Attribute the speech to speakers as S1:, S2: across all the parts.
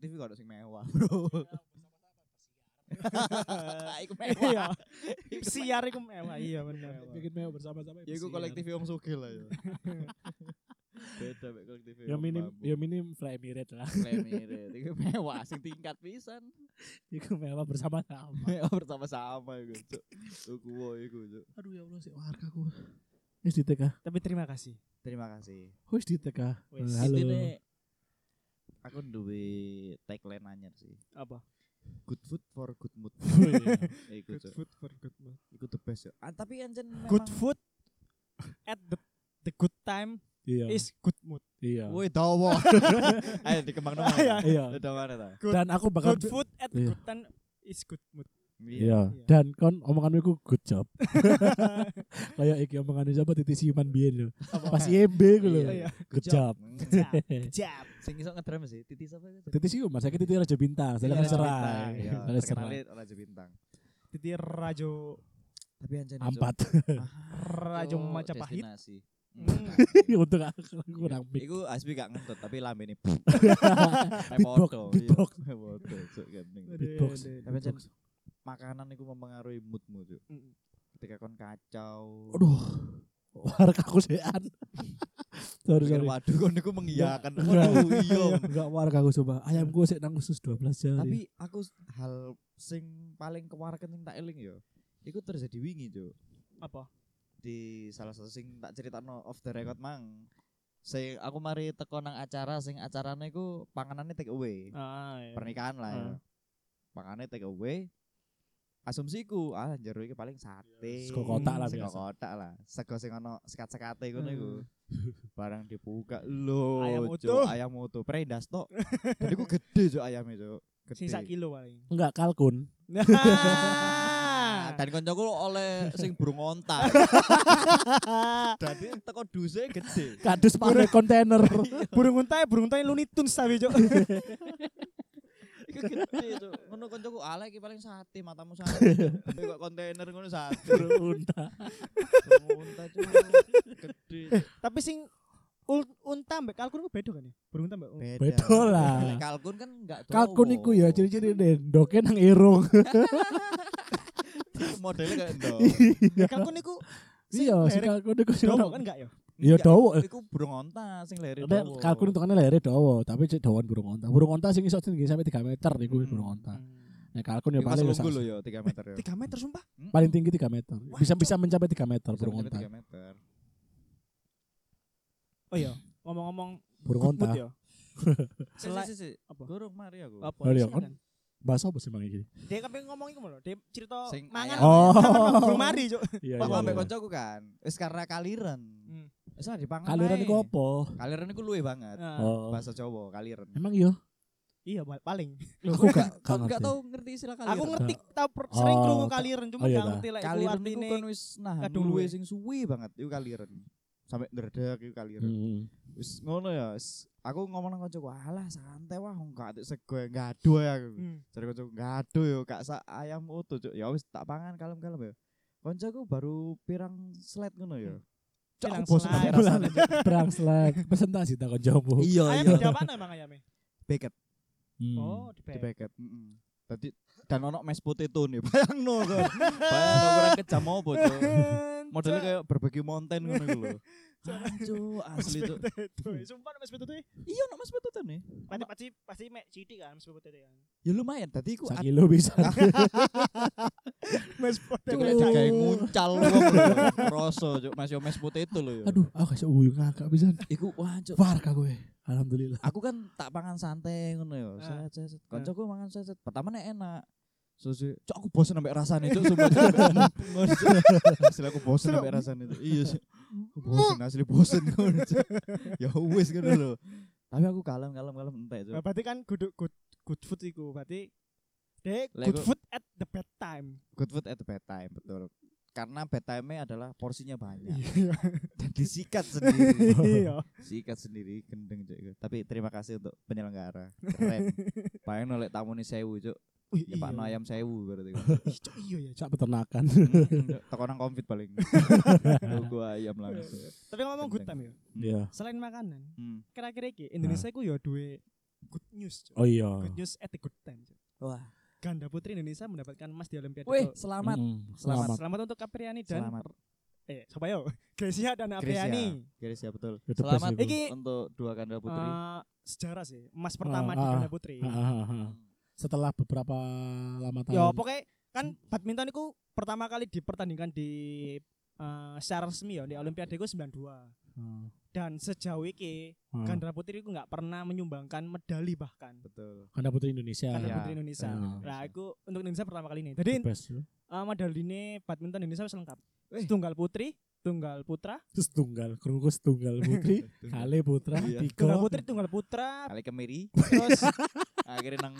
S1: TV kok ada sing mewah, Bro. Iku
S2: Iya.
S1: mewah.
S2: Siar iku mewah, iya bener.
S3: bikin meo bersama-sama
S1: Ya iku
S3: pesiar.
S1: kolektif wong sugih lah ya. Beda mek kolektif.
S3: ya minim ya minim fly mirate lah
S1: Klemirit. Iku mewah sing tingkat pisan.
S3: iku mewah bersama-sama
S1: Mewah bersama-sama iku, Cuk. Iku wo iku, Cuk.
S3: aduh ya Allah sih warga ku wis diteka
S2: Tapi terima kasih.
S1: Terima kasih.
S3: wis diteka
S2: Wis.
S3: halo
S1: Intine, aku duwe tagline anyar sih.
S2: Apa? Oh,
S1: Good food for good mood. Iku, Cuk.
S3: Gitu.
S2: food for good mood.
S1: Iku the best, Cuk. Ah, tapi anjen memang
S2: Good food at the the good time
S3: iya
S2: is good mood.
S3: iya
S1: Woi, dawa. Ayo dikembang dong.
S2: Iya.
S3: iya
S1: Dikembang ta.
S2: Good-
S3: dan aku bakal
S2: Good food at the
S3: Iya.
S2: good time is good mood.
S3: Iya,
S2: Iya.
S3: dan kon omonganmu iku good job. Kayak iki omonganmu siapa titik siuman biyen lho. Pas IMB ku lho.
S2: Oh
S1: Iya.
S3: Good job.
S1: Hmm.
S2: Nah,
S3: iya.
S2: Jab.
S1: Sing iso ngedram sih, Titi sapa itu?
S3: Titik siuman, saya titik Raja Bintang, saya kan
S2: Raja Bintang,
S3: serai.
S1: Iya,
S3: Saya serai.
S1: terkenalnya Raja Bintang.
S2: Jadi Rajo
S1: Tapi anjir
S3: Ampat.
S1: Oh,
S2: Rajo Majapahit. Hmm.
S3: Untuk aku aku kurang mic.
S1: Iku Asbi gak ngentut tapi lambe ini. iya.
S3: Beatbox, beatbox. Beatbox.
S1: Tapi anjir makanan iku mempengaruhi moodmu tuh.
S2: Mm.
S1: Ketika kon kacau.
S3: Aduh. Warga aku sean. Sorry,
S1: mikir,
S3: sorry.
S1: Waduh, kon iku mengiyakan.
S3: Enggak.
S1: Waduh, iya.
S3: Enggak warga aku coba. Ayamku sik nang khusus 12 jam.
S1: Tapi aku s- hal sing paling kewarken sing tak eling yo. Iku terjadi wingi, Cuk.
S2: Apa?
S1: di salah satu sing tak critakno off the record mang. Sing aku mari teko nang acara sing acarane iku panganane take away.
S2: Ah, iya.
S1: Pernikahan lah ya.
S2: Ah.
S1: Panganane take away. Asumsiku ah jero iki paling sate.
S3: Iya,
S1: Hmm,
S3: Sego kotak lah
S1: Sego
S3: biasa.
S1: kotak lah. Sego sing ono sekat-sekate ngono
S2: Hmm.
S1: iku. Barang dibuka lho.
S2: Ayam
S1: Cuk,
S2: utuh.
S1: Ayam utuh. Prendas tok. Jadi ku gede cuk ayame cuk. Gede.
S2: Sisa kilo paling.
S3: enggak kalkun.
S1: Ah, Dan koncoku oleh sing burung onta. Jadi teko duse gede.
S3: Kadus pakai kontainer.
S2: burung untai, burung untai Looney Tunes tapi cok.
S1: Iku gede cuk. Ngono koncoku ala iki paling sate matamu sate. Cuk. Kok kontainer ngono sate.
S3: Unta.
S1: Muntah cuk. Gede.
S2: Tapi sing ul- unta mbek kalkun ku beda kan ya? Burung unta mbek
S1: Beda.
S3: Beda lah.
S1: Lek kalkun kan enggak dowo.
S3: Kalkun iku ya ciri-ciri ndoke nang irung.
S1: Modelnya kayak ndo.
S2: Mbek kalkun niku sing
S3: Iya, si
S2: lerek
S3: kalkun iku sing
S2: dowo
S3: ono-
S2: kan enggak ya?
S3: Ya
S1: Enggak,
S3: dowo.
S1: Iku burung onta sing lere
S3: Ada
S1: dowo.
S3: kalkun itu kan lere dowo, tapi cek dawon burung onta. Burung onta sing iso tinggi sampai 3 meter iku
S2: Hmm.
S3: burung onta. Nah, kalkun ya
S1: Iku Pas
S3: paling
S1: lungguh lho
S3: bisa-
S1: ya 3 meter ya.
S2: Tiga meter sumpah.
S1: Hmm?
S3: paling tinggi 3 meter. Bisa bisa mencapai 3 meter
S1: Bisa
S3: burung
S1: mencapai
S3: onta.
S1: tiga meter.
S2: Oh iya, ngomong-ngomong
S3: Burung
S2: good mood
S3: onta.
S2: ya. Selain
S1: Si, si, si, si.
S2: apa?
S1: Burung mari aku.
S2: apa?
S3: Oh iya,
S2: silakan.
S3: Bahasa apa sih Bang iki?
S2: Dia kan ngomong iku lho, dia cerita
S1: Sing
S2: mangan
S1: ayam.
S2: sama-
S3: Oh.
S2: sama burung mari cok.
S3: Iya.
S1: Pak
S3: iya,
S1: ambek
S3: iya.
S1: koncoku kan. Wis karena kaliren.
S2: Hmm.
S1: Wis lah dipangan.
S3: Kaliran
S1: ae.
S3: iku apa?
S1: Kaliren iku luwe banget.
S2: Nah,
S3: Oh.
S1: Bahasa Jawa kaliren.
S3: Emang iya.
S2: Iya ba- paling.
S3: Aku gak gak
S1: Kon gak
S3: ngerti.
S1: tau ngerti istilah kaliren.
S2: Aku ngerti tau per- sering
S3: Oh,
S2: krungu
S3: tak-
S2: kaliren cuma
S3: oh iya,
S2: gak
S3: tak.
S2: ngerti lek iku
S1: Kaliren iku
S2: artine.
S1: kan wis nahan
S2: kadung
S1: luwe
S2: luwe.
S1: sing suwi banget iku kaliren. Sampai ngerdek iku kaliren.
S3: Hmm.
S1: Wis ngono ya. wis. Aku ngomong nang koncoku, "Alah santai wah wong gak atik sego ngadu ae aku."
S2: Hmm.
S1: Jare koncoku, "Ngadu yo gak sak ayam utuh, Cuk." Ya wis tak pangan kalem-kalem ya. Koncoku baru pirang slide ngono ya. Cuk,
S2: Pirang
S1: aku bosen
S2: slide.
S1: banget rasane.
S3: Perang selek presentasi tak konjomu.
S1: Iya, iya.
S2: Ayam di mana emang ayame?
S1: Beket.
S3: Oh, Hmm.
S2: Oh, di
S1: di
S2: bag.
S1: Beckett. Tadi dan ono mashed potato nih. Bayangno kan. Bayangno kurang kejam apa, Cuk. Modelnya kayak berbagi mountain ngono iku lho. Cuk, asli
S2: Mas
S1: Cuk.
S2: Potato, ya. Sumpah mas potato ya.
S1: Iya ono mashed potato nih.
S2: Pasti pasti pasti mek citi kan mas potato ya.
S1: Ya lumayan tadi iku
S3: Sak kilo bisa.
S2: Mas
S1: Cuk,
S2: potato.
S1: lek digawe nguncal wong lho. Kroso, Cuk. Mas yo mashed potato lho yo.
S3: Aduh, aku kasih uyu ngakak bisa.
S1: iku wah, Cuk.
S3: Warga gue. Alhamdulillah.
S1: Aku kan tak pangan santai ngono yo.
S2: Ah.
S1: Set, set, set.
S2: Ah.
S1: Koncoku mangan set, set. Pertama nek enak. Susu, cok aku bosen sampe rasane cok sumpah cok. Ngono, Cuk. Asli aku bosen sampe rasane itu. Iya sih. Aku bosen asli bosen ngono Cuk. Ya wis ngono lho. Tapi aku kalem kalem kalem entek cok.
S2: Nah, berarti kan good good good food iku berarti deh
S1: Lek
S2: good
S1: gua-
S2: food at the bad time.
S1: Good food at the bedtime betul. Karena bedtime-nya adalah porsinya banyak
S2: Iya.
S1: dan disikat sendiri.
S3: Oh.
S2: Iya.
S1: Sikat sendiri gendeng cok. iku. Tapi terima kasih untuk penyelenggara. Keren. Paling nolak tamu nih sewu cok.
S2: Wih,
S1: Ya Pak ayam sewu berarti.
S2: Ih, Cuk, iya ya. Cuk.
S3: Cak peternakan.
S1: Teko nang konfit paling. Tunggu ayam langsung.
S2: Tapi ngomong good time ya.
S3: Iya.
S2: Selain makanan,
S1: Hmm.
S2: kira-kira iki Indonesia iku ya duwe good news. Cuk.
S3: Oh iya.
S2: Good news at the good time. Cuk.
S1: Wah.
S2: Ganda putri Indonesia mendapatkan emas di Olimpiade.
S1: Wih,
S2: Tokyo.
S1: selamat.
S3: Mm-mm.
S1: Selamat.
S3: Hmm, Selamat.
S2: Selamat untuk Kapriani dan
S1: hmm, Selamat.
S2: eh siapa yo? Grecia dan
S1: Grecia.
S2: Apriani.
S1: Garis ya betul.
S3: The best
S1: Selamat
S3: itu.
S2: Iki-
S1: untuk dua ganda putri.
S2: Eh, sejarah sih, emas
S3: Ah,
S2: pertama di
S3: ah,
S2: ganda putri.
S3: Ah, ah, ah, ah. Setelah beberapa lama
S1: ah,
S3: tahun.
S2: Yo pokoknya kan badminton itu pertama kali dipertandingkan di eh, secara resmi ya di Olimpiade itu 92
S3: Ah,
S2: dan sejauh ini
S3: ah.
S1: Hmm.
S2: ganda putri itu nggak pernah menyumbangkan medali bahkan
S1: Betul.
S3: Ganda Putri Indonesia.
S2: ganda
S1: Iya.
S2: putri Indonesia.
S3: Ah.
S2: Nah, aku untuk Indonesia pertama kali ini.
S3: The
S2: Jadi
S3: best, yo.
S2: eh, medali ini badminton Indonesia wis lengkap.
S1: Wih.
S2: Tunggal putri, tunggal putra,
S3: Terus tunggal, kerungku tunggal putri, kale putra,
S1: Iya.
S2: tunggal
S3: tiga,
S2: putri, tunggal putra,
S1: Kali kemiri
S3: Iya.
S2: terus
S1: akhirnya nang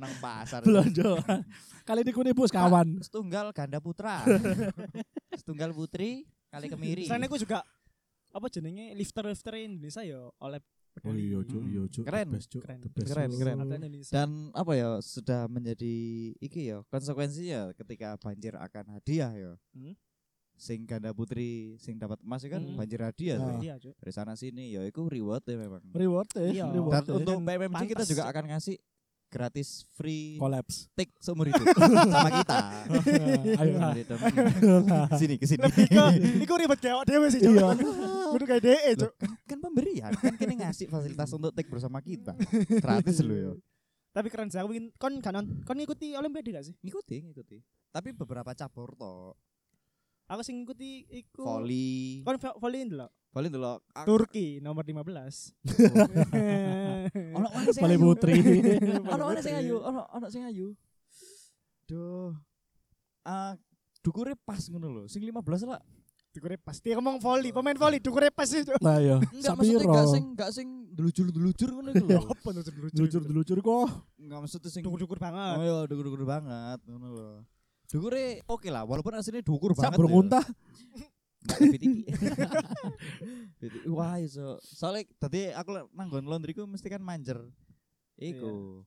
S1: nang pasar.
S3: belanja. Kali ini kune bos kawan.
S1: Setunggal ganda putra. Setunggal putri kali kemiri.
S2: selain aku juga apa jenenge lifter-lifter Indonesia ya oleh
S3: Oh
S2: medali.
S3: iya, Cuk, iya, Cuk.
S1: Keren.
S3: The best, Cuk.
S2: Keren.
S3: The best,
S1: Keren,
S3: Cuk.
S1: keren.
S2: Atlet Indonesia.
S1: Dan apa ya sudah menjadi iki ya konsekuensinya ketika banjir akan hadiah ya.
S2: Hmm.
S1: Sing ganda putri sing dapat emas ya kan
S2: Hmm.
S1: banjir hadiah
S3: Ah.
S1: tuh.
S2: Iya, Cuk.
S1: Dari sana sini ya itu reward ya memang.
S3: Reward eh,
S2: Iya.
S1: Dan
S3: reward, eh.
S1: untuk
S2: Dan
S1: PMMC kita
S2: pantas,
S1: juga
S2: Cuk.
S1: akan ngasih gratis free
S3: Collapse.
S1: tik seumur hidup sama kita.
S3: Ayo.
S1: Seumur hidup. Kesini kesini.
S2: Lebih ke iku ribet kayak dhewe sih, Eh, Cuk.
S3: Iya.
S2: Kudu kayak DE, Cuk.
S1: kan pemberian kan kini ngasih fasilitas untuk take bersama kita gratis loh ya
S2: Tapi keren sih aku ingin kon kan kon ngikuti olimpiade gak sih?
S1: ngikuti ngikuti tapi beberapa cabur toh
S2: Aku sing ngikuti iku
S1: volley
S2: kon vo- volley dulu.
S1: volley dulu Ak-
S2: Turki nomor 15.
S1: ono mana sing
S3: Voli
S1: ayu
S3: putri.
S1: gitu. ono mana gitu? sing ayu ono ono sing ayu duh ah dukure pas ngono lho sing 15 lah
S2: Dukure pas. Dia ngomong volley, pemain volley dukure pas itu.
S3: Nah ya,
S1: enggak maksudnya
S3: sapiro.
S1: enggak sing enggak sing delujur-delujur ngono iku lho
S2: Apa tuh dulu?
S3: Lucur-lucur kok.
S1: enggak maksudnya sing
S2: Dukur-dukur
S1: oh
S2: banget.
S1: iya dukur-dukur banget ngono lho dukure oke lah walaupun aslinya dukur banget
S3: Sak
S1: lho ya.
S3: bermuntah.
S1: BTI. BTI. Wah, iso. Soalnya tadi aku le- nanggon laundryku mesti kan manjer. Iku.
S2: Iya.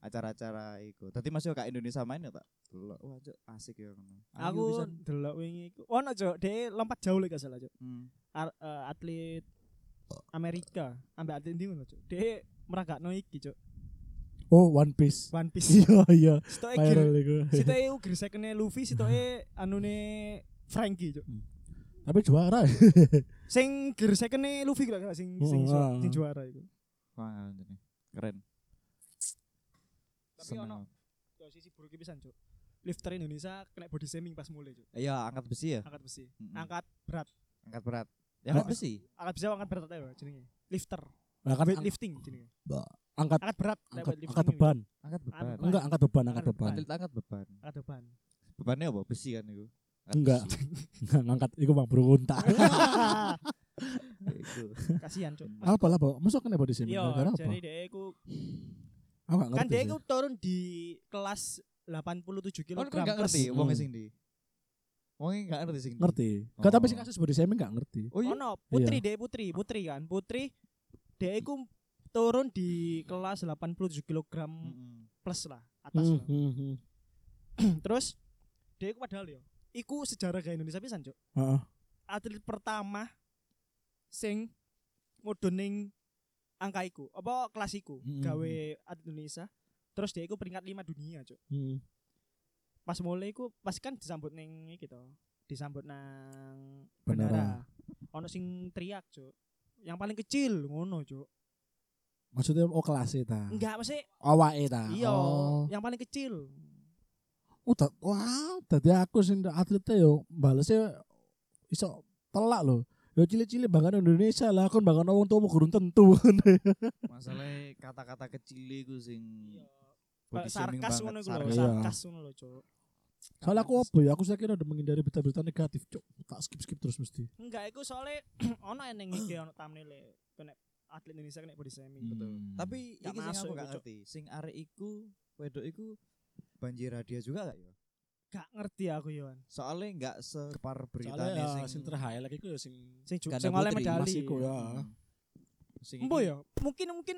S1: Acara-acara iku. Tadi masih kak Indonesia main ya, Pak? Delok. Wah, cuk, asik ya ngono. Ayu
S2: Aku
S1: pisan.
S2: delok wingi iku. Ono Cuk, dia lompat jauh lek gak salah Cuk.
S1: Hmm.
S2: Ar- eh, atlet Amerika, ambek atlet ndi ngono Cuk. Dia meragakno iki Cuk.
S3: Oh, One Piece.
S2: One Piece.
S3: Iya, iya.
S1: Eh,
S2: Sitoke gear,
S3: Viral iku.
S2: sitoke iku gear second-e Luffy, sitoke anune Frankie Cuk.
S3: Tapi juara.
S2: Sing gear second-e Luffy gak gak sing sing
S3: Oh,
S2: ju-
S3: ah.
S2: sing juara iku.
S1: Wah, anjene. Keren.
S2: Tapi ono Yo, sisi buruk pisan Cuk. Lifter Indonesia kena body shaming pas mulai Cuk.
S1: Iya, angkat besi ya.
S2: Angkat besi.
S1: Mm-mm.
S2: Angkat berat.
S1: Angkat berat. Ya angkat besi.
S2: Angkat besi apa angkat berat aja jenenge. Lifter.
S3: Nah, kan ang-
S2: Weightlifting jenenge.
S3: angkat
S2: Angkat berat lek
S3: angkat,
S2: weightlifting
S3: angkat
S2: ini.
S3: beban.
S1: Angkat beban.
S2: Anu, Angkat
S3: Enggak, angkat beban, angkat
S2: Angkat
S3: beban.
S1: Atlet angkat beban.
S2: Angkat beban.
S1: Bebannya apa? Besi kan iku. Angkat
S3: Enggak.
S1: besi.
S3: Enggak ngangkat iku Bang berunta.
S1: Iku.
S2: Kasihan cuk.
S3: Apa lah, Bang? Masuk kena body shaming
S2: Iya,
S3: gara-gara apa?
S2: jadi dia iku
S3: Aku enggak
S2: kan
S3: ngerti.
S2: dia
S3: sih.
S2: iku turun di kelas 87
S1: Oh,
S2: kilogram.
S1: kok enggak
S2: plus-
S1: ngerti wong
S3: Hmm.
S1: sing di. Wong enggak ngerti sing ndi?
S3: ngerti. Enggak tapi sih
S1: Oh.
S3: kasus body shaming enggak ngerti.
S1: Oh iya.
S2: Oh no, putri dia putri, putri kan. Putri dia iku turun di kelas 87 kilogram
S1: Mm-mm.
S2: plus lah, atas
S3: Hmm,
S2: lah.
S3: hmm, hmm.
S2: Terus dia iku padahal yo. Iku sejarah gaya Indonesia pisan cuk.
S3: Heeh.
S2: Atlet pertama sing mudhuning angka iku, apa kelas iku,
S3: Hmm.
S2: gawe atlet Indonesia. Terus dia iku peringkat 5 dunia cuk.
S3: Hmm.
S2: pas mulai ku pas kan disambut neng gitu disambut nang
S3: Bandara.
S2: bandara ono sing teriak cuk yang paling kecil ngono cuk
S3: Maksudnya oh kelas ta.
S2: enggak maksudnya
S3: Awake ta.
S2: iya
S3: Oh.
S2: yang paling kecil
S3: Oh, dat- wah, tadi aku sing ndak atletnya yo balesnya iso telak loh. Yo cilik-cilik bahkan Indonesia lah, kon bahkan wong tuamu gurun tentu.
S1: masalahnya kata-kata kecil iku sing
S2: Kayak sarkas ngono iku lho
S3: sarkas.
S2: sarkas ngono lho cuk
S3: Soalnya aku apa ya? Aku saya kira udah menghindari berita-berita negatif, cok. Tak skip-skip terus mesti.
S2: enggak iku soalnya ono yang neng iki ono thumbnail kena atlet Indonesia kena body shaming
S3: Hmm.
S1: Betul. tapi
S2: Gak
S1: iki sing
S2: masuk
S1: aku gak
S2: iku, Cuk.
S1: ngerti sing arek iku wedok iku banjir hadiah juga gak ya
S2: gak ngerti aku yo
S1: soalnya gak separ beritane
S2: ah,
S3: Soalnya ya,
S1: sing
S3: sing terhighlight iku ya sing
S2: sing ju-
S1: Ganda
S2: sing oleh
S1: putri,
S2: medali
S3: Mas iku ya.
S2: Ah.
S1: Hmm. sing
S2: Embo
S1: iki
S2: yo mungkin mungkin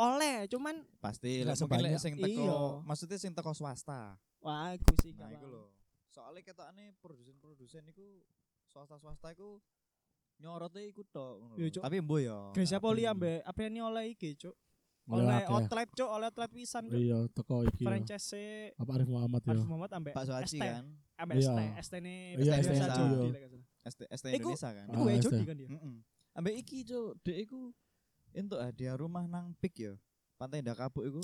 S2: oleh cuman
S1: pasti
S3: Gak
S1: lah mungkin lek
S3: sebanyak.
S1: sing teko
S2: Iya.
S1: maksudnya sing teko swasta
S2: wah aku sih
S1: nah
S2: gak
S1: iku
S2: paham.
S1: lho soalnya ketokane produsen-produsen iku swasta-swasta iku nyorote iku tok ngono
S2: Iya,
S1: lho.
S2: Cuk.
S1: tapi embo ya
S2: Gracia
S1: Tapi-
S2: Poli ambek apa ini oleh iki cuk
S3: Mulai
S2: oleh
S3: Hmm. akeh.
S2: outlet cuk oleh outlet pisan cuk
S3: Iya, teko iki. ya.
S2: franchise
S3: Apa Arif Muhammad ya?
S2: Arif Muhammad ambe
S1: Pak Soaci
S2: ST.
S1: kan
S2: ambe
S3: Iya.
S2: ST ST ne
S3: Iya,
S1: ST,
S2: Indonesia,
S1: iya.
S2: Cuk.
S1: Iya.
S2: Gila, gak salah.
S1: ST, ST
S2: Iku-
S1: Indonesia kan
S2: Iku
S3: Ah,
S2: wae Cuk
S3: ST.
S2: kan dia
S1: Heeh. Ambek iki cuk, dek iku entuk hadiah rumah nang Pik ya. Pantai Indah Kapuk iku.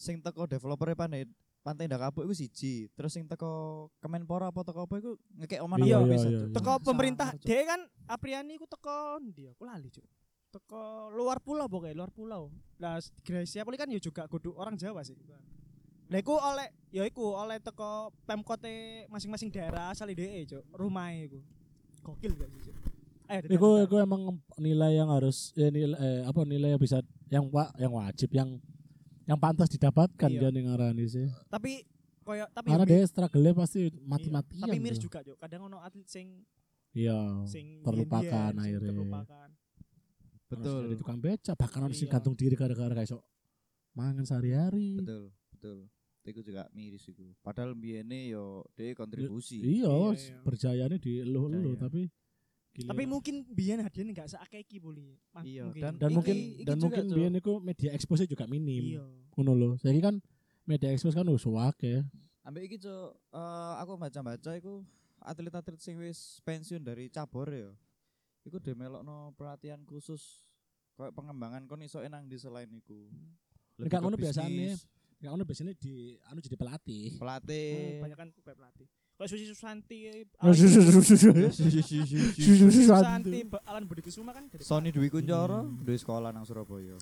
S1: Sing teko developer Pantai Pantai Indah Kapuk iku siji, terus sing teko Kemenpora apa teko apa iku ngekek omah nang
S2: Iya,
S1: kono
S3: iya,
S1: pisan,
S3: iya,
S1: Cuk.
S3: iya.
S2: teko
S1: Sangar,
S2: pemerintah
S1: Cuk.
S2: dia kan Apriani ku teko dia aku lali cuk teko luar pulau pokoknya luar pulau nah Gracia Poli kan ya juga kudu orang Jawa sih nah iku oleh ya iku oleh teko pemkote masing-masing daerah asal DE cuk rumahnya iku gokil gak sih cuk Eh, ayo Dedan,
S3: Iku
S2: Dedan.
S3: iku emang nilai yang harus ya nilai eh, apa nilai yang bisa yang wa, yang wajib yang yang pantas didapatkan dia
S2: Iya.
S3: nih ngarani sih.
S2: tapi koyo tapi
S3: Karena
S2: mir-
S3: dia gitu. struggle pasti
S2: iya.
S3: mati-matian.
S2: tapi miris
S3: tuh.
S2: juga cuk kadang ono atlet sing
S3: Iya.
S2: sing
S3: terlupakan
S2: biyen-biyen, sing
S3: akhirnya. Iya.
S2: terlupakan
S1: Betul.
S3: Dari tukang beca bahkan orang sing
S2: Iya.
S3: gantung diri gara-gara kayak sok mangan sehari-hari.
S1: Betul, betul. Iku juga miris iku. Padahal mbiyene yo dhewe kontribusi.
S3: Iya,
S2: Iya,
S3: s-
S2: iya.
S3: berjayanya di eluh-eluh
S1: Berjaya.
S3: tapi gila.
S2: tapi mungkin biyen hadiahnya gak seakeh iki Poli. Ma-
S1: Iya,
S2: mungkin.
S1: dan-
S3: dan
S1: iki-
S3: mungkin
S1: iki
S3: dan
S1: juga
S3: mungkin
S1: tuh.
S3: biyen iku media expose juga minim.
S2: iya
S3: Ngono lho. Saiki kan media expose kan wis akeh.
S1: Ambek iki cuk, eh, aku baca-baca iku atlet-atlet sing wis pensiun dari cabur ya. Iku demelokno pelatihan khusus kayak pengembangan kon iso enang di selain iku. Lebih
S3: Enggak
S1: ke
S3: ngono
S1: bisnis,
S3: biasane. Enggak ngono biasanya di anu jadi pelatih.
S1: Pelatih.
S2: Oh, banyak kan kayak pelatih. Kalau Susi Susanti,
S1: Oh,
S2: Alan-
S1: Susi
S2: Susi Susanti, Ba- Alan Budi Kusuma kan dari
S1: Sony Dwi Kuncoro
S3: Hmm.
S1: duwe sekolah nang Surabaya.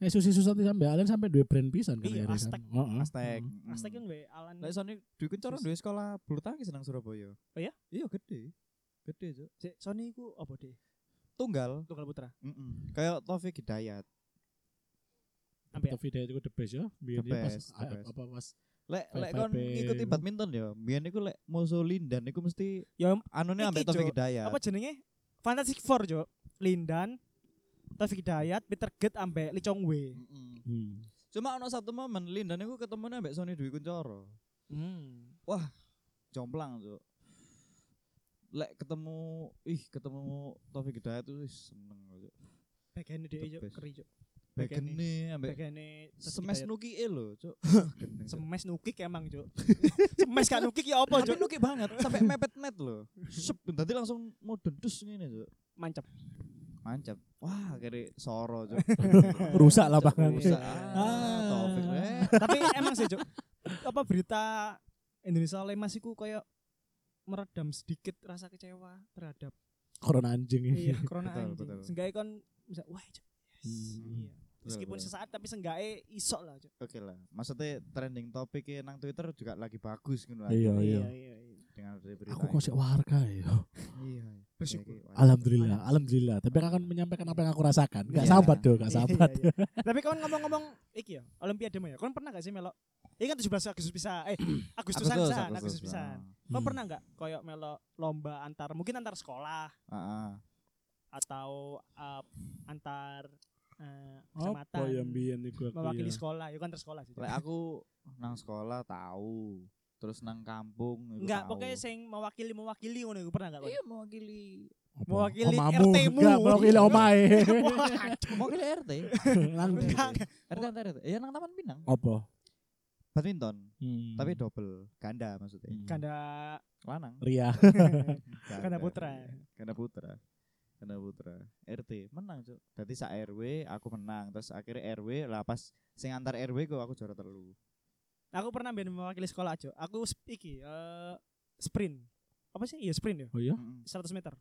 S3: Eh Susi Susanti sampai Alen sampai dua brand pisan kan
S2: Iya,
S3: akhirnya
S2: Aztec.
S3: kan. Heeh.
S1: Aztek.
S2: Pelatih. Hmm. Aztec kan wae Alan.
S1: Hmm. Nek Sony Dwi Kuncoro duwe sekolah bulu tangkis nang Surabaya.
S2: Oh iya?
S1: Iya gede. Gede, Cuk.
S2: Sik, Sony ku apa deh?
S1: Tunggal.
S2: Tunggal Putra.
S1: Mm-mm. Kayak Taufik Hidayat.
S2: Sampai
S3: Tapi dia itu the best ya. Biyen
S1: The
S3: pas
S1: best, the
S3: a-
S1: best.
S3: apa pas
S1: Lek
S3: Bye-bye,
S1: lek kon
S3: Bang.
S1: ngikuti badminton ya, biyen iku lek musuh Lindan iku mesti
S2: ya
S1: anune
S2: Iki,
S1: ambek Taufik
S2: Cuk.
S1: Hidayat.
S2: apa jenenge? Fantastic Four, Jo. Lindan, Taufik Hidayat, Peter Get ambek Lee Chong Wei.
S1: Mm-mm.
S3: hmm.
S1: Cuma ono satu momen Lindan iku ketemune ambek Sony Dwi Kuncoro.
S2: Hmm.
S1: Jomplang, Cuk. Lek ketemu ih ketemu Taufik Hidayat tuh ih, seneng, Cuk.
S2: Bagene
S1: The
S2: dhewe Jo
S1: best.
S2: keri Jo. Bagene-
S1: Bagene ambek
S2: Bagene Taufik
S1: Semes
S2: Hidayat.
S1: nuki E lho, Cuk.
S2: Semes nukik emang, Jo. Semes gak nukik ya apa,
S1: Tapi
S2: Jo?
S1: nuki banget, sampai mepet net lho. Sep, tadi langsung mau dendus ngene, Cuk.
S2: Mancep.
S1: Mancap. Wah, akhirnya soro, Cuk.
S3: Rusak lapangan.
S1: Rusak.
S3: Ah.
S1: Ah, Taufik. eh.
S2: tapi emang sih Cuk. apa berita Indonesia oleh Mas iku kayak meredam sedikit rasa kecewa terhadap
S3: Corona anjing
S2: iya
S3: ini.
S2: corona
S1: Betul,
S2: anjing.
S1: betul.
S2: Seenggaknya kon bisa wah Cuk. Yes.
S3: Hmm.
S2: Iya. Meskipun sesaat tapi seenggaknya iso lah Cuk.
S1: Oke lah, maksudnya trending topiknya nang Twitter juga lagi bagus gitu lah.
S3: Iya iya.
S2: iya.
S1: Dengan dari berita.
S3: Aku
S1: ini.
S3: kok sik warga ya.
S1: Iya.
S2: Bersyukur.
S1: Oke, oke.
S3: Alhamdulillah, alhamdulillah. Tapi aku akan menyampaikan apa yang aku rasakan. Gak
S1: Iya.
S3: sahabat dong, gak
S2: Iya. Iya,
S3: sahabat.
S2: iya, iya. Tapi kawan ngomong-ngomong iki ya, Olimpiade mah ya. Kawan pernah gak sih melok? Ini kan 17 Agustus bisa. Eh, Agustusan
S1: Agustus,
S2: bisa,
S1: Agustus,
S2: Agustus bisa.
S3: ah.
S2: Kawan
S3: Hmm.
S2: pernah gak koyok melok lomba antar mungkin antar sekolah
S1: Ah, ah.
S2: atau eh, antar eh,
S3: Apa
S2: kecamatan?
S3: yang biyen iku aku
S2: mewakili
S3: ya?
S2: sekolah, ya kan tersekolah sih.
S1: Lek aku nang sekolah tahu, terus nang kampung iku
S2: Enggak,
S1: tahu.
S2: pokoknya sing mewakili mewakili ngono iku pernah enggak kon?
S1: Iya mewakili
S3: Apa?
S2: mewakili
S3: Omamu.
S2: RT-mu.
S3: Gak, mewakili
S2: Iya.
S3: omae.
S1: mewakili RT.
S3: Nang
S1: Enggak,
S3: ndi?
S2: Enggak.
S1: RT RT RT. Ya nang Taman Pinang.
S3: Apa?
S1: Badminton,
S3: Hmm.
S1: tapi double ganda maksudnya.
S3: Hmm.
S2: Ganda
S1: Lanang.
S3: Ria.
S2: Ganda putra.
S1: Ganda putra. Ganda putra. RT menang, Cuk. Dadi sak RW aku menang, terus akhirnya RW lah pas sing antar RW kok aku juara telu.
S2: Aku pernah ben mewakili sekolah aja. Aku sp- iki eh, sprint. Apa sih? Iya sprint ya.
S3: Oh iya.
S2: 100 meter.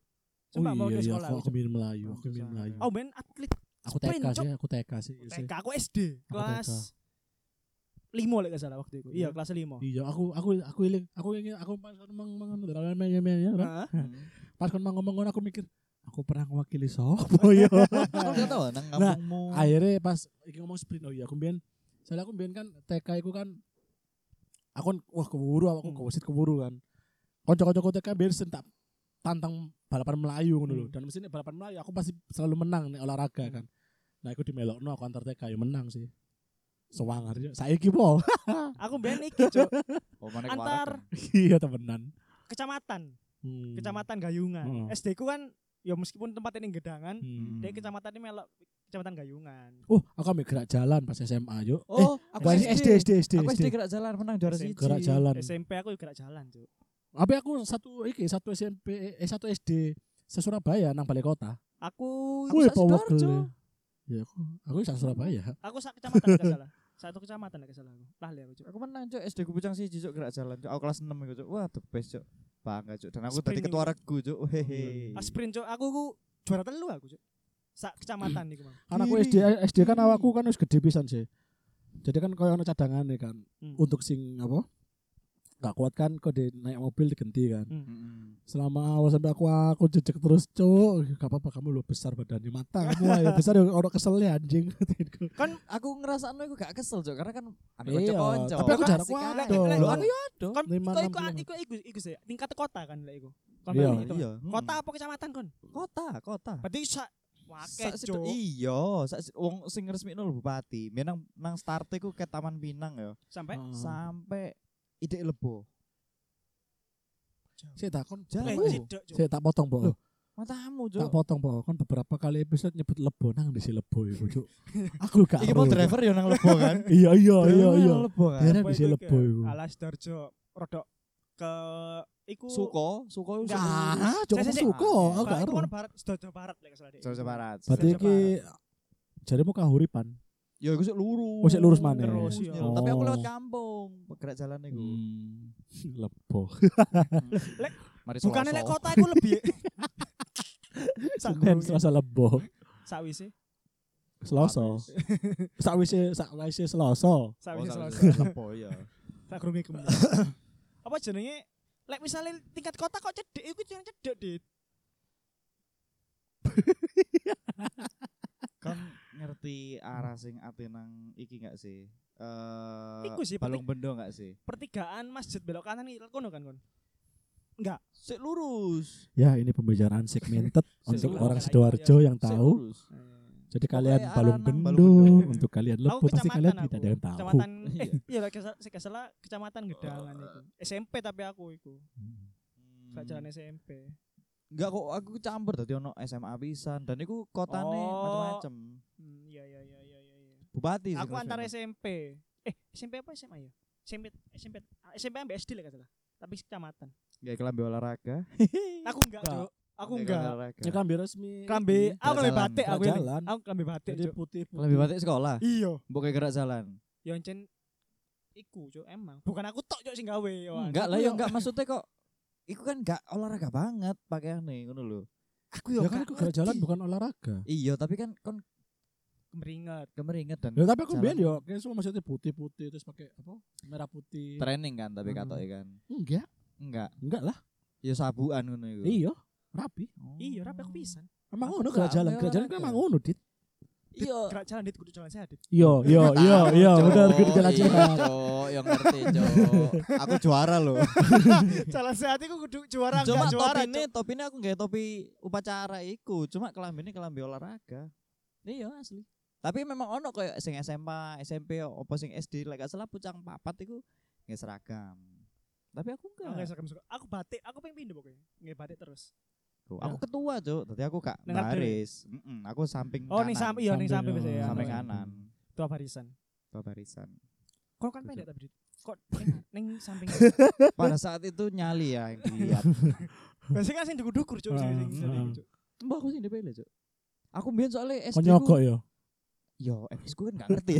S3: Oh
S2: Coba
S3: iya,
S2: mewakili
S3: iya,
S2: sekolah.
S3: aku, aku
S2: aku,
S3: biyen Melayu, aku
S1: Pantesan
S3: biyen
S1: ada.
S3: Melayu.
S2: oh ben atlet
S3: aku TK
S2: sprint,
S3: sih, aku TK sih. iya sih.
S2: TK, aku SD
S3: Aku
S2: kelas 5 lek gak salah waktu itu.
S3: Iya.
S2: Iya, kelas 5.
S3: Iya, aku aku aku iling, aku ingin aku pas kan kon mang mang dalan men men ya.
S2: Heeh.
S3: Pas kan kon mang ngomong ngono aku mikir, aku pernah mewakili sopo ya.
S2: Oh.
S1: Kau gak tahu nang
S3: Nah,
S1: kampungmu.
S3: Akhirnya pas iki ngomong sprint oh iya aku biyen soalnya aku biyen kan TK aku kan aku kan- wah keburu aku
S2: Hmm.
S3: kewasit keburu kan. Kocok-kocok TK biyen sen tak tantang balapan Melayu ngono lho.
S2: Hmm.
S3: Dan mesinnya balapan Melayu aku pasti selalu menang nih olahraga kan. Nah, aku dimelokno aku antar TK yo menang sih. Sewangar yo. Saiki po.
S2: Aku ben iki, Cuk.
S1: Oh, mana
S2: Antar
S3: iya temenan.
S2: kecamatan,
S3: Hmm.
S2: kecamatan Gayungan.
S3: Heeh.
S2: SD ku kan ya meskipun tempatnya ini gedangan,
S3: Hmm.
S2: Dari kecamatan ini melok Kecamatan Gayungan.
S3: Oh, aku ambil gerak jalan pas SMA yuk.
S1: Oh,
S3: eh,
S1: aku
S3: aku SD,
S1: SD.
S3: SD, SD,
S1: Aku SD
S3: SD.
S1: gerak jalan menang juara
S2: SMP.
S1: siji.
S3: Gerak jalan.
S2: SMP aku juga gerak jalan, Cuk.
S3: Apa aku satu iki satu SMP, eh satu SD se Surabaya nang balai kota.
S2: Aku
S1: Aku
S3: Wih,
S1: sak
S3: power
S1: sidoarjo.
S3: girl-nya. Ya aku, aku sak Surabaya.
S2: aku sak kecamatan enggak salah. Satu kecamatan enggak salah aku. Lali aku, Cuk.
S1: Aku menang cok SD ku pucang siji cok gerak jalan cok. Aku kelas 6 iku cok. Wah, the best cok. Bangga cok. Dan aku tadi
S2: Sprint
S1: ketua
S2: ini.
S1: regu cok.
S3: Oh, iya,
S1: Hehe.
S2: Ah, sprint, Cuk. Aku ku juara telu aku, Cuk. Sak kecamatan iku, Mang.
S3: Anakku
S1: Kiri,
S3: SD SD kan
S1: kiri.
S3: awakku kan wis gede pisan sih. Jadi kan koyo ono cadangane kan
S2: Hmm.
S3: untuk sing apa? Gak kuat kan kode naik mobil diganti kan.
S1: Mm-mm.
S3: Selama awal sampai aku aku jejek terus cuk, gak apa-apa kamu lu besar badannya mata kamu ayo besar ya ono keselnya anjing katinku.
S1: Aku ngerasa aku gak kesel cok karena kan ada
S3: Iya,
S1: konco-konco.
S3: tapi aku jarang
S1: Asik
S3: Iya.
S1: kan.
S3: waduh.
S1: Loh, aku ya aduh.
S2: Kon
S3: Lima,
S2: iku
S3: enam
S2: iku
S3: kilometer.
S2: iku iku iku sih. Tingkat kota kan lek iku. Kon
S3: Iya,
S2: berarti itu, Mang.
S1: Iya. mm.
S2: Kota apa kecamatan kon?
S1: Kota, kota.
S2: Berarti
S1: Sak
S2: sak Wake,
S1: situ-
S2: Cuk.
S1: Iya, sak si- wong sing resmi nol bupati. Biyen nang nang starte ku ke Taman Pinang ya.
S3: Ah.
S2: Sampai
S3: Hmm.
S1: Sampai ide lebo.
S3: Saya tak kon
S1: Jarang.
S2: Eh,
S1: Oh.
S2: cedok, Cuk.
S3: Saya tak potong po.
S1: Loh, Matamu, Cuk.
S3: Tak potong po. Kan beberapa kali episode nyebut lebo nang di si lebo iku cuk. Aku gak.
S1: Iki mau
S3: ero, Cuk.
S1: driver ya nang lebo kan.
S3: Iya Oh, iya
S1: Driver
S3: iya
S1: nang
S3: iya.
S1: Lebo kan.
S3: Heran
S2: Apa
S3: di si
S2: iku,
S3: lebo
S2: Ki?
S3: iku.
S2: Alas Darjo rodok ke iku
S1: Suko, Suko itu
S2: Enggak.
S3: Ah, cuk
S2: Sik, sik, sik.
S3: suka, aku
S2: Barat,
S3: gak
S2: iku
S3: ero.
S2: kan barat Sidoarjo barat lek salah dek.
S1: Jawa Barat.
S3: Berarti
S2: Sejak
S3: iki jarimu kahuripan.
S1: Ya iku sik lurus.
S3: Oh, sik lurus maneh.
S1: Terus,
S2: Iya.
S1: ya. Tapi aku
S3: Oh.
S1: lewat kampung, gerak jalan iku.
S3: Hmm. Lebo.
S1: Mari
S2: Bukannya
S1: Selasa.
S2: lek kota iku lebih
S3: Senin Kan Selasa lebo.
S2: sakwise
S3: Selasa. Sakwise sakwise Selasa.
S1: Oh,
S2: sakwise
S1: Selasa.
S2: Selasa.
S1: Lebo ya.
S2: Tak kerungi kembali. Apa jenenge lek misalnya tingkat kota kok cedek iku jeneng cedek dit.
S1: Kan ngerti arah sing ate nang iki enggak sih? Eh,
S2: Iku sih,
S1: Balung Bendo enggak sih?
S2: Pertigaan masjid belok kanan iki kono kan kon.
S1: Sik lurus.
S3: Ya, ini pembicaraan segmented untuk
S1: Selasa.
S3: orang Sidoarjo yang
S1: Sik
S3: tahu.
S1: lurus.
S3: Jadi kalian
S1: Pokoknya arah
S3: balung
S1: nang
S3: bendo
S1: Balung Bendo.
S3: untuk kalian
S2: Aku
S3: lebo pasti
S2: kecamatan
S3: kalian
S2: aku.
S3: tidak ada yang tahu.
S2: Kecamatan eh iya lek kesel- sik kesel kecamatan Gedangan iku. SMP tapi aku iku.
S3: Hmm.
S2: Gak jalan SMP.
S1: Enggak kok aku campur dadi ono SMA pisan dan iku kotane
S2: Oh.
S1: macam-macam.
S2: Hmm, iya iya iya iya iya. iya.
S1: Bupati sih
S2: Aku
S1: kalau
S2: antara
S1: saya.
S2: SMP. Eh, SMP apa SMA ya? SMP SMP ah, SMP ambil SD lah katalah. Tapi kecamatan.
S1: Enggak kelambi olahraga.
S2: Aku enggak,
S3: Enggak.
S2: Cuk. Aku
S1: Nggak
S2: enggak.
S1: olahraga.
S3: Ya klambi resmi.
S2: Kelambi,
S3: Eh, Ini,
S2: aku kelambi
S1: jalan.
S2: batik aku ini.
S3: Jalan.
S2: Aku kelambi batik,
S3: Jadi
S2: Cuk.
S3: putih.
S1: Kelambi batik sekolah.
S2: Iya.
S1: Bukan gerak jalan.
S2: Yo encen iku, Cuk, emang. Bukan aku tok, Cuk, sing gawe. yo.
S1: Enggak lah
S2: Aku
S1: ya
S2: yo-
S1: enggak maksudnya kok Iku kan enggak olahraga banget pakaiannya ngono lho.
S2: Aku yo
S3: Ya kan
S2: gak
S3: aku gerak jalan
S2: ngerti.
S3: bukan olahraga.
S1: Iya, tapi kan kon
S2: kemeringet.
S1: kemeringet dan
S3: Ya tapi aku
S1: Jalan.
S3: biar yo kayak semua maksudnya putih-putih terus pakai apa? Merah putih.
S1: training kan tapi
S3: Hmm.
S1: katoke kan.
S3: Enggak,
S1: Enggak.
S3: enggak lah.
S1: Ya sabuan ngono iku.
S3: Iya, rapi.
S1: Oh.
S2: Iya, rapi aku pisan.
S3: Emang
S1: Aku
S3: ngono
S1: gak
S3: gerak jalan,
S1: ambil
S3: gerak jalan kan
S1: olahraga.
S3: emang ngono, Dit.
S1: Iya.
S2: Gerak jalan dit kudu jalan sehat. Dit.
S3: Yo, yo, yo, yo,
S1: Tahu,
S3: benar
S1: Cok.
S3: gerak jalan
S1: Iya,
S3: jalan.
S1: Cok, yang ngerti, Cok. Aku juara loh.
S2: jalan sehat iku kudu juara
S1: Cuma
S2: enggak juara.
S1: topi ini, topi ini aku nggak topi upacara iku. Cuma kelambi ini kelambi olahraga. Iya asli. Tapi memang ono kayak sing SMA, SMP, opo sing SD, lek gak salah pucang papat iku nggak seragam. Tapi aku
S2: Cuk. Aku
S1: enggak.
S2: seragam sekolah. Aku batik, aku pengen pindah pokoknya. Nggih batik terus.
S1: Tuh,
S2: ya.
S1: aku ketua, Cuk. Tadi aku kak
S2: Dengar dulu.
S1: baris. Mm-mm, aku samping
S2: Oh,
S1: kanan.
S2: ning samping, iya ning
S3: Samping,
S2: samping biasanya.
S3: oh.
S1: Samping
S2: Anu,
S1: kanan.
S2: Tua barisan.
S1: Tua barisan.
S2: Kok kan
S1: Betul.
S2: pendek tapi Dit? kok neng samping. gitu?
S1: Pada saat itu nyali ya yang dilihat.
S2: Biasanya kan sing dukur-dukur cuk sing sing- sing-
S3: Ah,
S2: Cuk.
S1: Mbak aku sih dipilih, Cuk. Aku mbiyen soalnya SD ku
S3: Konyokok yo.
S1: Yo, eh, aku kan gak ngerti.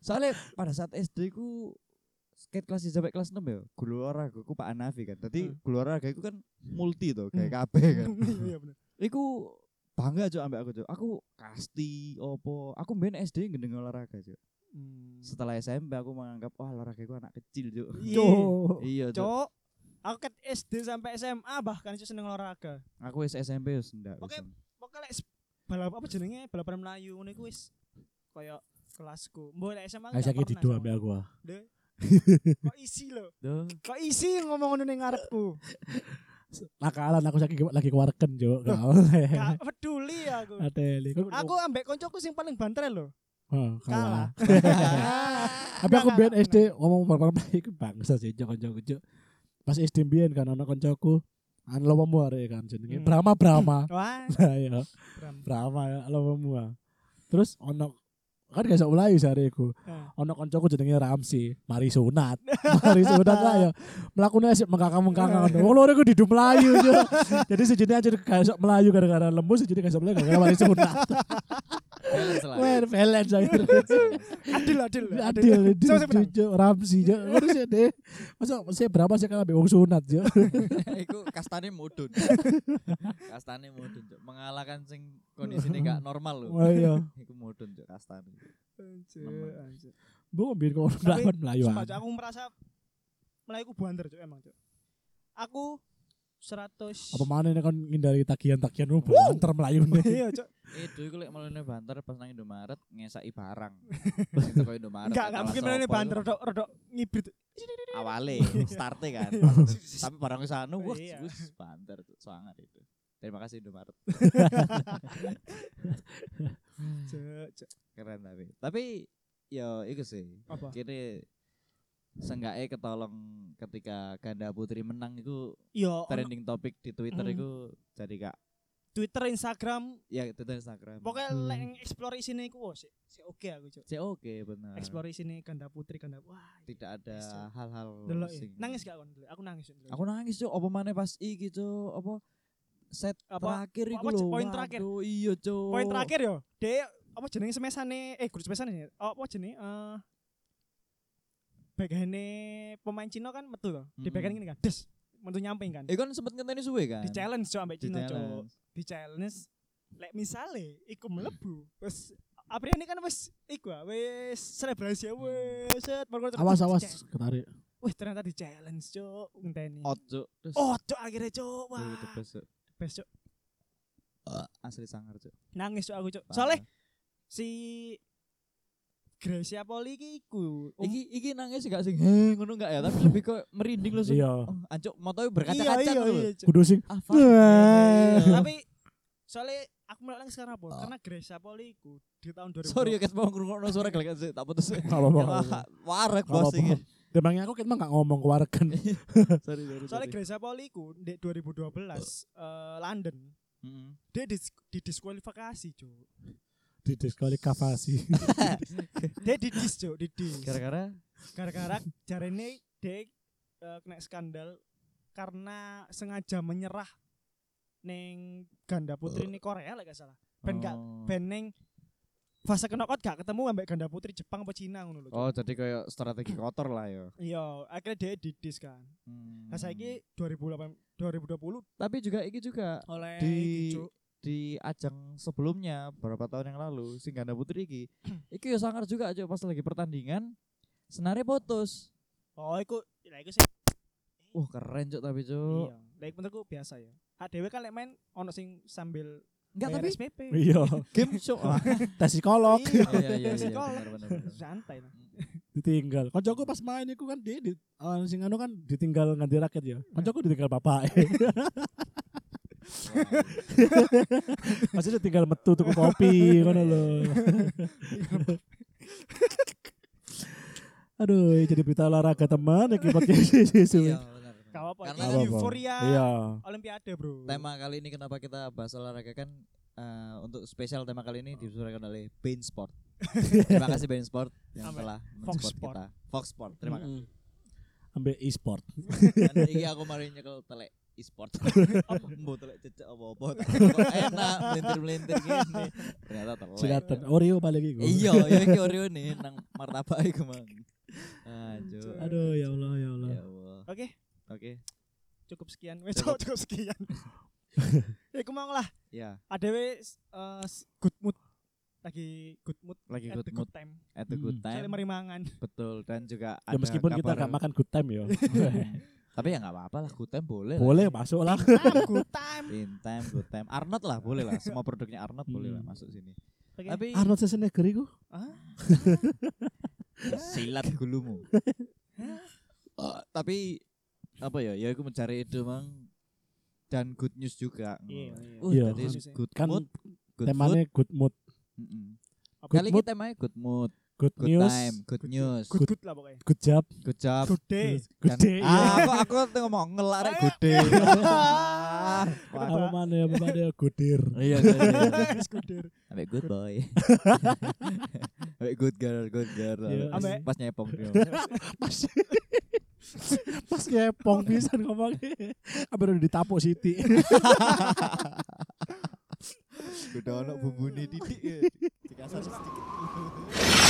S1: Soalnya pada saat SD ku skate kelas sampai kelas 6 ya, guru olahraga ku Pak Anafi kan. Tadi
S2: Hmm.
S1: guru olahraga iku kan multi to,
S2: Hmm.
S1: kayak kabeh kan.
S2: Iya bener.
S1: Iku bangga cok ambek aku cok. Aku kasti opo. Aku main SD gendeng olahraga cok.
S2: Hmm.
S1: Setelah SMP aku menganggap wah olahraga iku anak kecil cok.
S2: Iya.
S1: Iya cok.
S2: Cuk. Aku ket SD sampai SMA bahkan itu seneng olahraga.
S1: Aku wis SMP wis ndak. wis.
S2: Oke. Pokoknya lek s- balap apa jenenge balapan melayu ngono iku wis koyo kelasku. Mbok lek SMA
S3: Ayo
S2: nggak
S3: sakit
S2: pernah
S3: tidur
S2: sama.
S3: ambil aku. ah.
S2: Deh. Kok isi lo?
S1: Duh.
S2: Kok isi ngomong ngono ning ngarepku?
S3: Nakalan aku sakit lagi kewarken jo. Gak oleh.
S2: Gak peduli aku.
S3: Ateli. Kok-
S2: Aku ambek koncoku sing paling banter lo.
S3: Oh,
S2: kalah.
S3: kalah. Tapi aku biar SD ngomong bareng-bareng iku bangsa sih cok koncoku cok. Pas SD biyen kan ana koncoku Anu lo mau arek kan jenenge
S2: Hmm.
S3: Brahma Brahma.
S2: Wah,
S3: Nah, ya.
S2: Bram.
S3: Brahma ya lo mau. Terus ono kan gak iso mlayu sare iku.
S2: Eh.
S3: Ono kancaku jenenge Ramsi, mari sunat. mari sunat lah ya. Mlakune asik mengkakang-mengkakang ngono. Wong loro iku didu mlayu. Cuk. Jadi sejene aja gak iso mlayu gara-gara lemu sejene gak iso mlayu gara-gara mari sunat.
S1: Balance lah.
S3: Wer balance akhirnya.
S2: adil adil
S3: adil adil
S2: Sama-sama menang.
S3: jujur Ramzi jujur terus ya deh masa saya berapa sih kalau wong sunat jujur
S1: Iku kastane mudun. kastane mudun, Cuk. Mengalahkan sing kondisine gak normal lho.
S3: oh iya
S1: Iku mudun, Cuk, kastane.
S2: Anjir,
S1: Nemen.
S2: anjir.
S3: bu biar kau melawan melayu ah.
S2: Sumpah, Cuk, aku merasa Melayu ku buanter Cuk, emang Cuk. Aku 100
S3: apa mana ini kan ngindari tagihan-tagihan lu banter melayu nih
S2: Iya, Cuk.
S1: Edo iku lek melone banter pas nang Indomaret ngesaki barang. Pas itu kok Indomaret.
S2: Enggak, enggak mungkin ini banter
S1: banter.
S2: rodok rodok ngibrit.
S1: Awale, starte kan. Tapi barangnya sana, wah,
S2: Iya.
S1: wis banter, Cuk. sangat itu. Terima kasih Indomaret.
S2: Cuk, Cuk.
S1: Keren tapi. Tapi ya iku sih.
S2: Apa?
S1: Kini seenggaknya ketolong ketika ganda putri menang itu
S2: Iya, ono
S1: trending topik di Twitter
S2: Mm.
S1: itu jadi kak
S2: Twitter, Instagram,
S1: ya Twitter Instagram.
S2: pokoknya
S3: Hmm.
S2: lek explore isine iku oh, sik sik oke aku, Cuk.
S1: Cek oke bener.
S2: Explore isine ganda putri, ganda. Wah,
S1: Tidak ada
S2: Yes, Cuk.
S1: hal-hal
S2: delok ya.
S1: sing-
S2: Nangis gak kon? Aku nangis. Cuk, delok.
S1: Aku nangis tuh apa mana pas i gitu apa set
S2: Apa-
S1: terakhir
S2: apa
S1: iku
S2: Cuk,
S1: lho.
S2: poin terakhir?
S1: Waduh, iya cuk.
S2: Poin terakhir yo, de apa jenenge semesane eh guru semesane ya. Apa jenenge eh backhand-e pemain Cina kan metu to. Di
S1: Mm-mm.
S2: backhand gini kan, des metu nyamping kan.
S1: Eh kan sempet ngenteni suwe kan.
S2: Di challenge cok ambek
S1: Di
S2: Cina cok.
S1: challenge.
S2: Di challenge lek misale iku mlebu wis Apriani kan wis iku ah, wis selebrasi ya wis set baru-
S3: awas
S2: Wih,
S3: awas
S2: di-
S3: ketarik
S2: Wih ternyata di challenge cok ngenteni.
S1: Out cuk. Terus
S2: Oh, cok akhirnya
S1: Duh,
S2: cok. Wah,
S1: the best, Cuk.
S2: best cok.
S1: Asli sangar cuk.
S2: Nangis cok aku cok.
S1: Parah.
S2: Soalnya si Gracia Poli iki iku um-
S1: Iki iki nangis gak sing heh ngono gak ya tapi lebih kok merinding loh
S3: iya
S1: Oh, ancuk motoe berkaca-kaca
S2: iya,
S1: lho.
S2: iya, Cuk. Iya,
S3: kudu sing
S1: Ah, fuck.
S3: Wah.
S2: Tapi soalnya aku melek nangis karena apa? Karena Gracia Poli iku di tahun 2000.
S1: Sorry ya guys, mau ngrungokno suara gelekan sih, tak putus.
S3: Gak apa-apa, gak apa-apa.
S1: Wah, Warek
S3: Gak
S1: bos
S3: apa-apa.
S1: iki.
S3: Demangnya aku kan emang gak ngomong keluarkan
S1: Sorry, sorry.
S2: Soalnya
S1: sorry.
S2: Gracia Poli iku di 2012 eh, London
S1: Mm-mm.
S2: dia dis didiskualifikasi cok.
S3: di diskualifikasi.
S2: Dia didis cok, didis.
S1: Gara-gara
S2: Gara-gara jarene dia eh, kena skandal karena sengaja menyerah neng ganda putri ini Korea lah gak salah. Ben gak
S1: Oh.
S2: ben neng fase knockout gak ketemu ambek ganda putri Jepang apa Cina ngono lho. Cuk.
S1: Oh, jadi kayak strategi kotor lah ya.
S2: Iya, akhirnya dia didis kan.
S1: Hmm.
S2: Nah saiki 2008 2020
S1: tapi juga iki juga
S2: oleh
S1: Di-
S2: iki, Cuk.
S1: di ajang sebelumnya berapa tahun yang lalu sing ganda putri iki. iki ya sangar juga aja pas lagi pertandingan senare putus.
S2: Oh, iku lah iku sih.
S1: Wah, keren cuk tapi cuk.
S2: Iya, lah iku menurutku biasa ya. Hak dhewe kan lek main ono sing sambil
S1: Enggak
S2: bayar
S1: tapi
S2: SPP.
S3: Iya.
S1: game cuk. Ah,
S3: Tes psikolog
S2: Iya,
S1: Iya, iya, iya, iya,
S2: psikolog.
S1: benar, benar, benar.
S2: Santai lah.
S3: ditinggal. Kancaku pas main iku kan dia di, eh, sing anu kan ditinggal ganti raket
S2: Iya.
S3: ya. Kancaku ditinggal bapak. Maksudnya tinggal metu tuku kopi ngono lho. Aduh, jadi berita olahraga teman iki podcast
S1: Iya,
S3: suwe.
S1: benar, benar.
S2: Gak apa-apa.
S1: Karena
S2: Ini
S1: kan
S3: Gak apa-apa.
S2: euforia
S3: Iya.
S2: Olimpiade, Bro.
S1: tema kali ini kenapa kita bahas olahraga kan eh, untuk spesial tema kali
S2: Oh.
S1: ini disuarakan oleh Bein Sport. terima kasih Bein Sport yang
S2: Sampai.
S1: telah
S2: Fox
S1: mensupport
S2: Sport.
S1: kita. Fox Sport, terima kasih.
S3: Ambil e-sport.
S1: Dan iki aku mari nyekel telek e-sport. Apa mbok telek cecek apa-apa. tak kok Enak melintir-melintir gini. Ternyata telek.
S3: Silakan. Oreo balik iku.
S1: Iya, ya iki Oreo nih nang martabak iku, Mang. Anjir.
S3: Aduh, ya Allah, ya Allah.
S1: Ya Allah.
S2: Oke,
S1: Oke.
S2: cukup sekian. Wes cukup cukup sekian. Ya iku mau lah.
S1: Ya,
S2: ADW eh, s- good mood lagi good mood
S1: lagi
S2: at
S1: good
S2: the
S1: mood
S2: good Hmm. time.
S1: at the good
S2: Soalnya
S1: time.
S2: merimangan.
S1: Betul dan juga
S3: Ya meskipun kita gak makan good time ya.
S1: Tapi ya nggak apa-apa lah, good time boleh. lah.
S3: Boleh masuk lah.
S2: Ah, good time.
S1: In time, good time. Arnold lah boleh lah. Semua produknya Arnold boleh lah
S3: Hmm.
S1: masuk sini.
S2: Oke.
S1: Tapi
S3: Arnold Schwarzenegger iku.
S1: silat gulumu. Eh, tapi apa ya? Ya aku mencari itu mang dan good news juga.
S2: Iya, iya.
S1: Uh,
S3: Iya,
S1: tadi
S2: kan-
S1: good
S3: kan
S1: mood, good
S3: Temanya good mood,
S1: food. Mm-mm.
S2: Apa?
S1: Kali ini
S3: mood.
S1: temanya good mood,
S3: good
S1: good
S3: news,
S1: time, good news,
S2: Good good lah pokoknya.
S3: good job,
S1: good job.
S2: Good day.
S3: good day.
S1: ah, aku aku tuh ngomong ngelarek good day.
S3: Apa mana ya, apa mana ya, godir.
S1: Iya, iya, iya.
S2: Skuder.
S1: Ambek good boy. Ambek good girl, good girl.
S3: Iya.
S1: Pas-
S2: Ambek-
S1: Pas nyepong dia.
S3: Pas pas ngepong pisan ngomongnya. Apa udah ditapuk Siti.
S1: Udah ono bumbune titik. Dikasar sedikit.